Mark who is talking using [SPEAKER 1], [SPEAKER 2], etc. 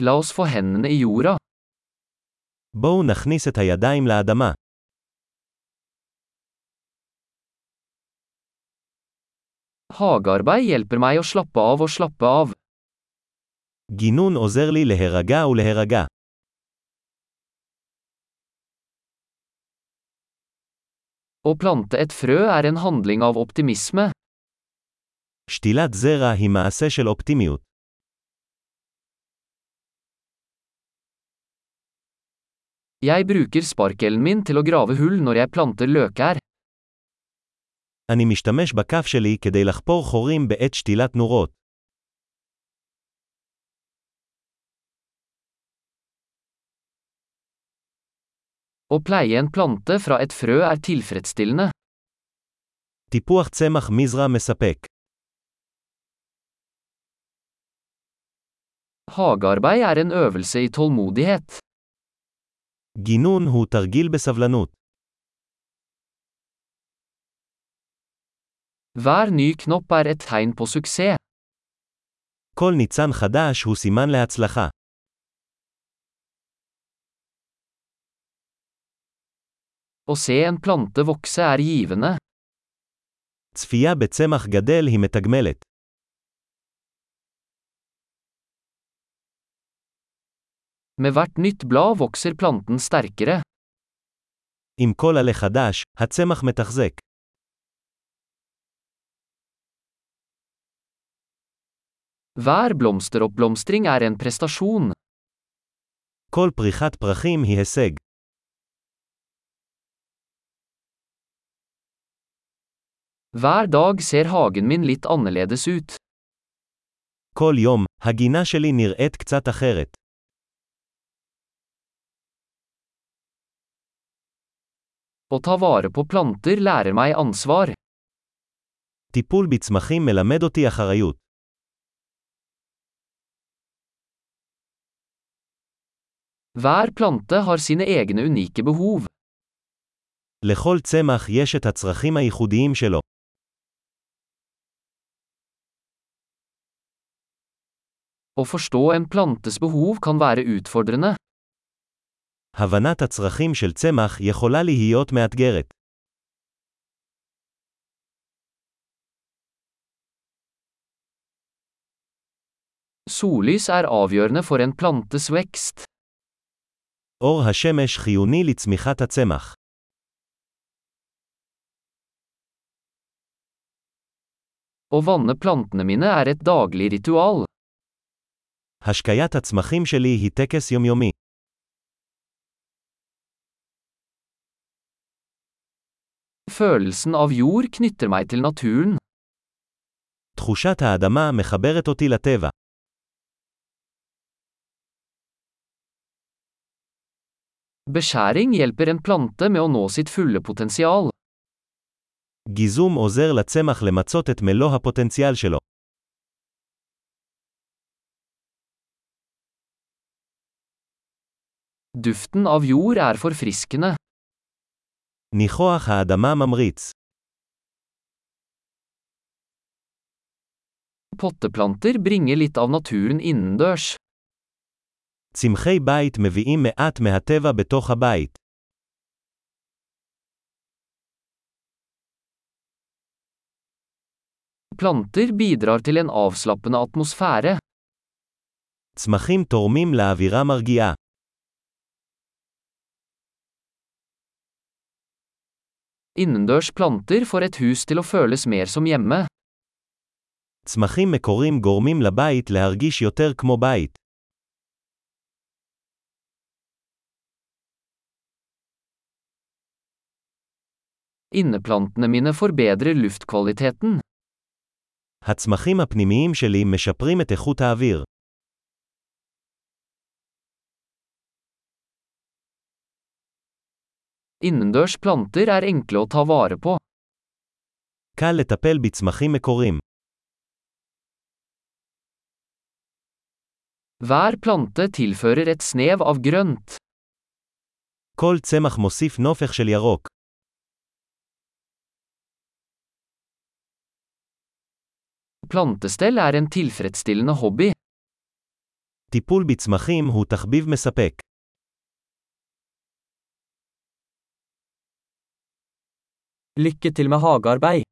[SPEAKER 1] La oss få hendene i jorda.
[SPEAKER 2] בואו נכניס את הידיים לאדמה.
[SPEAKER 1] Hagearbeid hjelper meg å slappe av og slappe av.
[SPEAKER 2] גינון עוזר לי להירגע ולהירגע.
[SPEAKER 1] Å plante et frø er en handling av optimisme.
[SPEAKER 2] שתילת זרע היא מעשה של אופטימיות.
[SPEAKER 1] Jeg bruker sparkelen min til å grave hull når jeg planter løkær.
[SPEAKER 2] אני משתמש בכף שלי כדי לחפור חורים בעת שתילת נורות.
[SPEAKER 1] Å pleie en plante fra et frø er tilfredsstillende.
[SPEAKER 2] טיפוח צמח מזרע מספק.
[SPEAKER 1] Hagearbeid er en øvelse i tålmodighet.
[SPEAKER 2] גינון הוא תרגיל בסבלנות.
[SPEAKER 1] Hver ny knopp er et tegn på suksess.
[SPEAKER 2] כל ניצן חדש הוא סימן להצלחה.
[SPEAKER 1] Å se en plante vokse er givende.
[SPEAKER 2] צפייה בצמח גדל היא מתגמלת.
[SPEAKER 1] Med hvert nytt blad vokser planten sterkere.
[SPEAKER 2] עם כל עלה חדש, הצמח מתחזק.
[SPEAKER 1] Hver blomsteroppblomstring er en prestasjon.
[SPEAKER 2] כל פריחת פרחים היא הישג.
[SPEAKER 1] Hver dag ser hagen min litt annerledes ut.
[SPEAKER 2] כל יום, הגינה שלי נראית קצת אחרת.
[SPEAKER 1] Å ta vare på planter lærer meg ansvar.
[SPEAKER 2] טיפול בצמחים מלמד אותי אחריות.
[SPEAKER 1] Hver plante har sine egne unike behov.
[SPEAKER 2] לכל צמח יש את הצרכים הייחודיים שלו.
[SPEAKER 1] Å forstå en plantes behov kan være utfordrende.
[SPEAKER 2] הבנת הצרכים של צמח יכולה להיות מאתגרת.
[SPEAKER 1] Sollys er avgjørende for en plantes vekst.
[SPEAKER 2] אור השמש חיוני לצמיחת הצמח.
[SPEAKER 1] Å vanne plantene mine er et daglig ritual.
[SPEAKER 2] השקיית הצמחים שלי היא טקס יומיומי.
[SPEAKER 1] Følelsen av jord knytter meg til naturen.
[SPEAKER 2] תחושת האדמה מחברת אותי לטבע.
[SPEAKER 1] Beskjæring hjelper en plante med å nå sitt fulle potensial.
[SPEAKER 2] גיזום עוזר לצמח למצות את מלוא הפוטנציאל שלו.
[SPEAKER 1] Duften av jord er forfriskende.
[SPEAKER 2] ניחוח האדמה ממריץ.
[SPEAKER 1] Potteplanter bringer litt av naturen innendørs.
[SPEAKER 2] צמחי בית מביאים מעט מהטבע בתוך הבית.
[SPEAKER 1] Planter bidrar til en avslappende atmosfære.
[SPEAKER 2] צמחים תורמים לאווירה מרגיעה.
[SPEAKER 1] Innendørs planter får et hus til å føles mer som hjemme.
[SPEAKER 2] צמחים מקורים גורמים לבית להרגיש יותר כמו בית.
[SPEAKER 1] Inneplantene mine forbedrer luftkvaliteten.
[SPEAKER 2] הצמחים הפנימיים שלי משפרים את איכות האוויר.
[SPEAKER 1] Innendørs planter er enkle å ta vare på.
[SPEAKER 2] קל לטפל בצמחים מקורים.
[SPEAKER 1] Hver plante tilfører et snev av grønt.
[SPEAKER 2] כל צמח מוסיף נופך של ירוק.
[SPEAKER 1] Plantestell er en tilfredsstillende hobby.
[SPEAKER 2] טיפול בצמחים הוא תחביב מספק.
[SPEAKER 1] Lykke til med hagearbeid.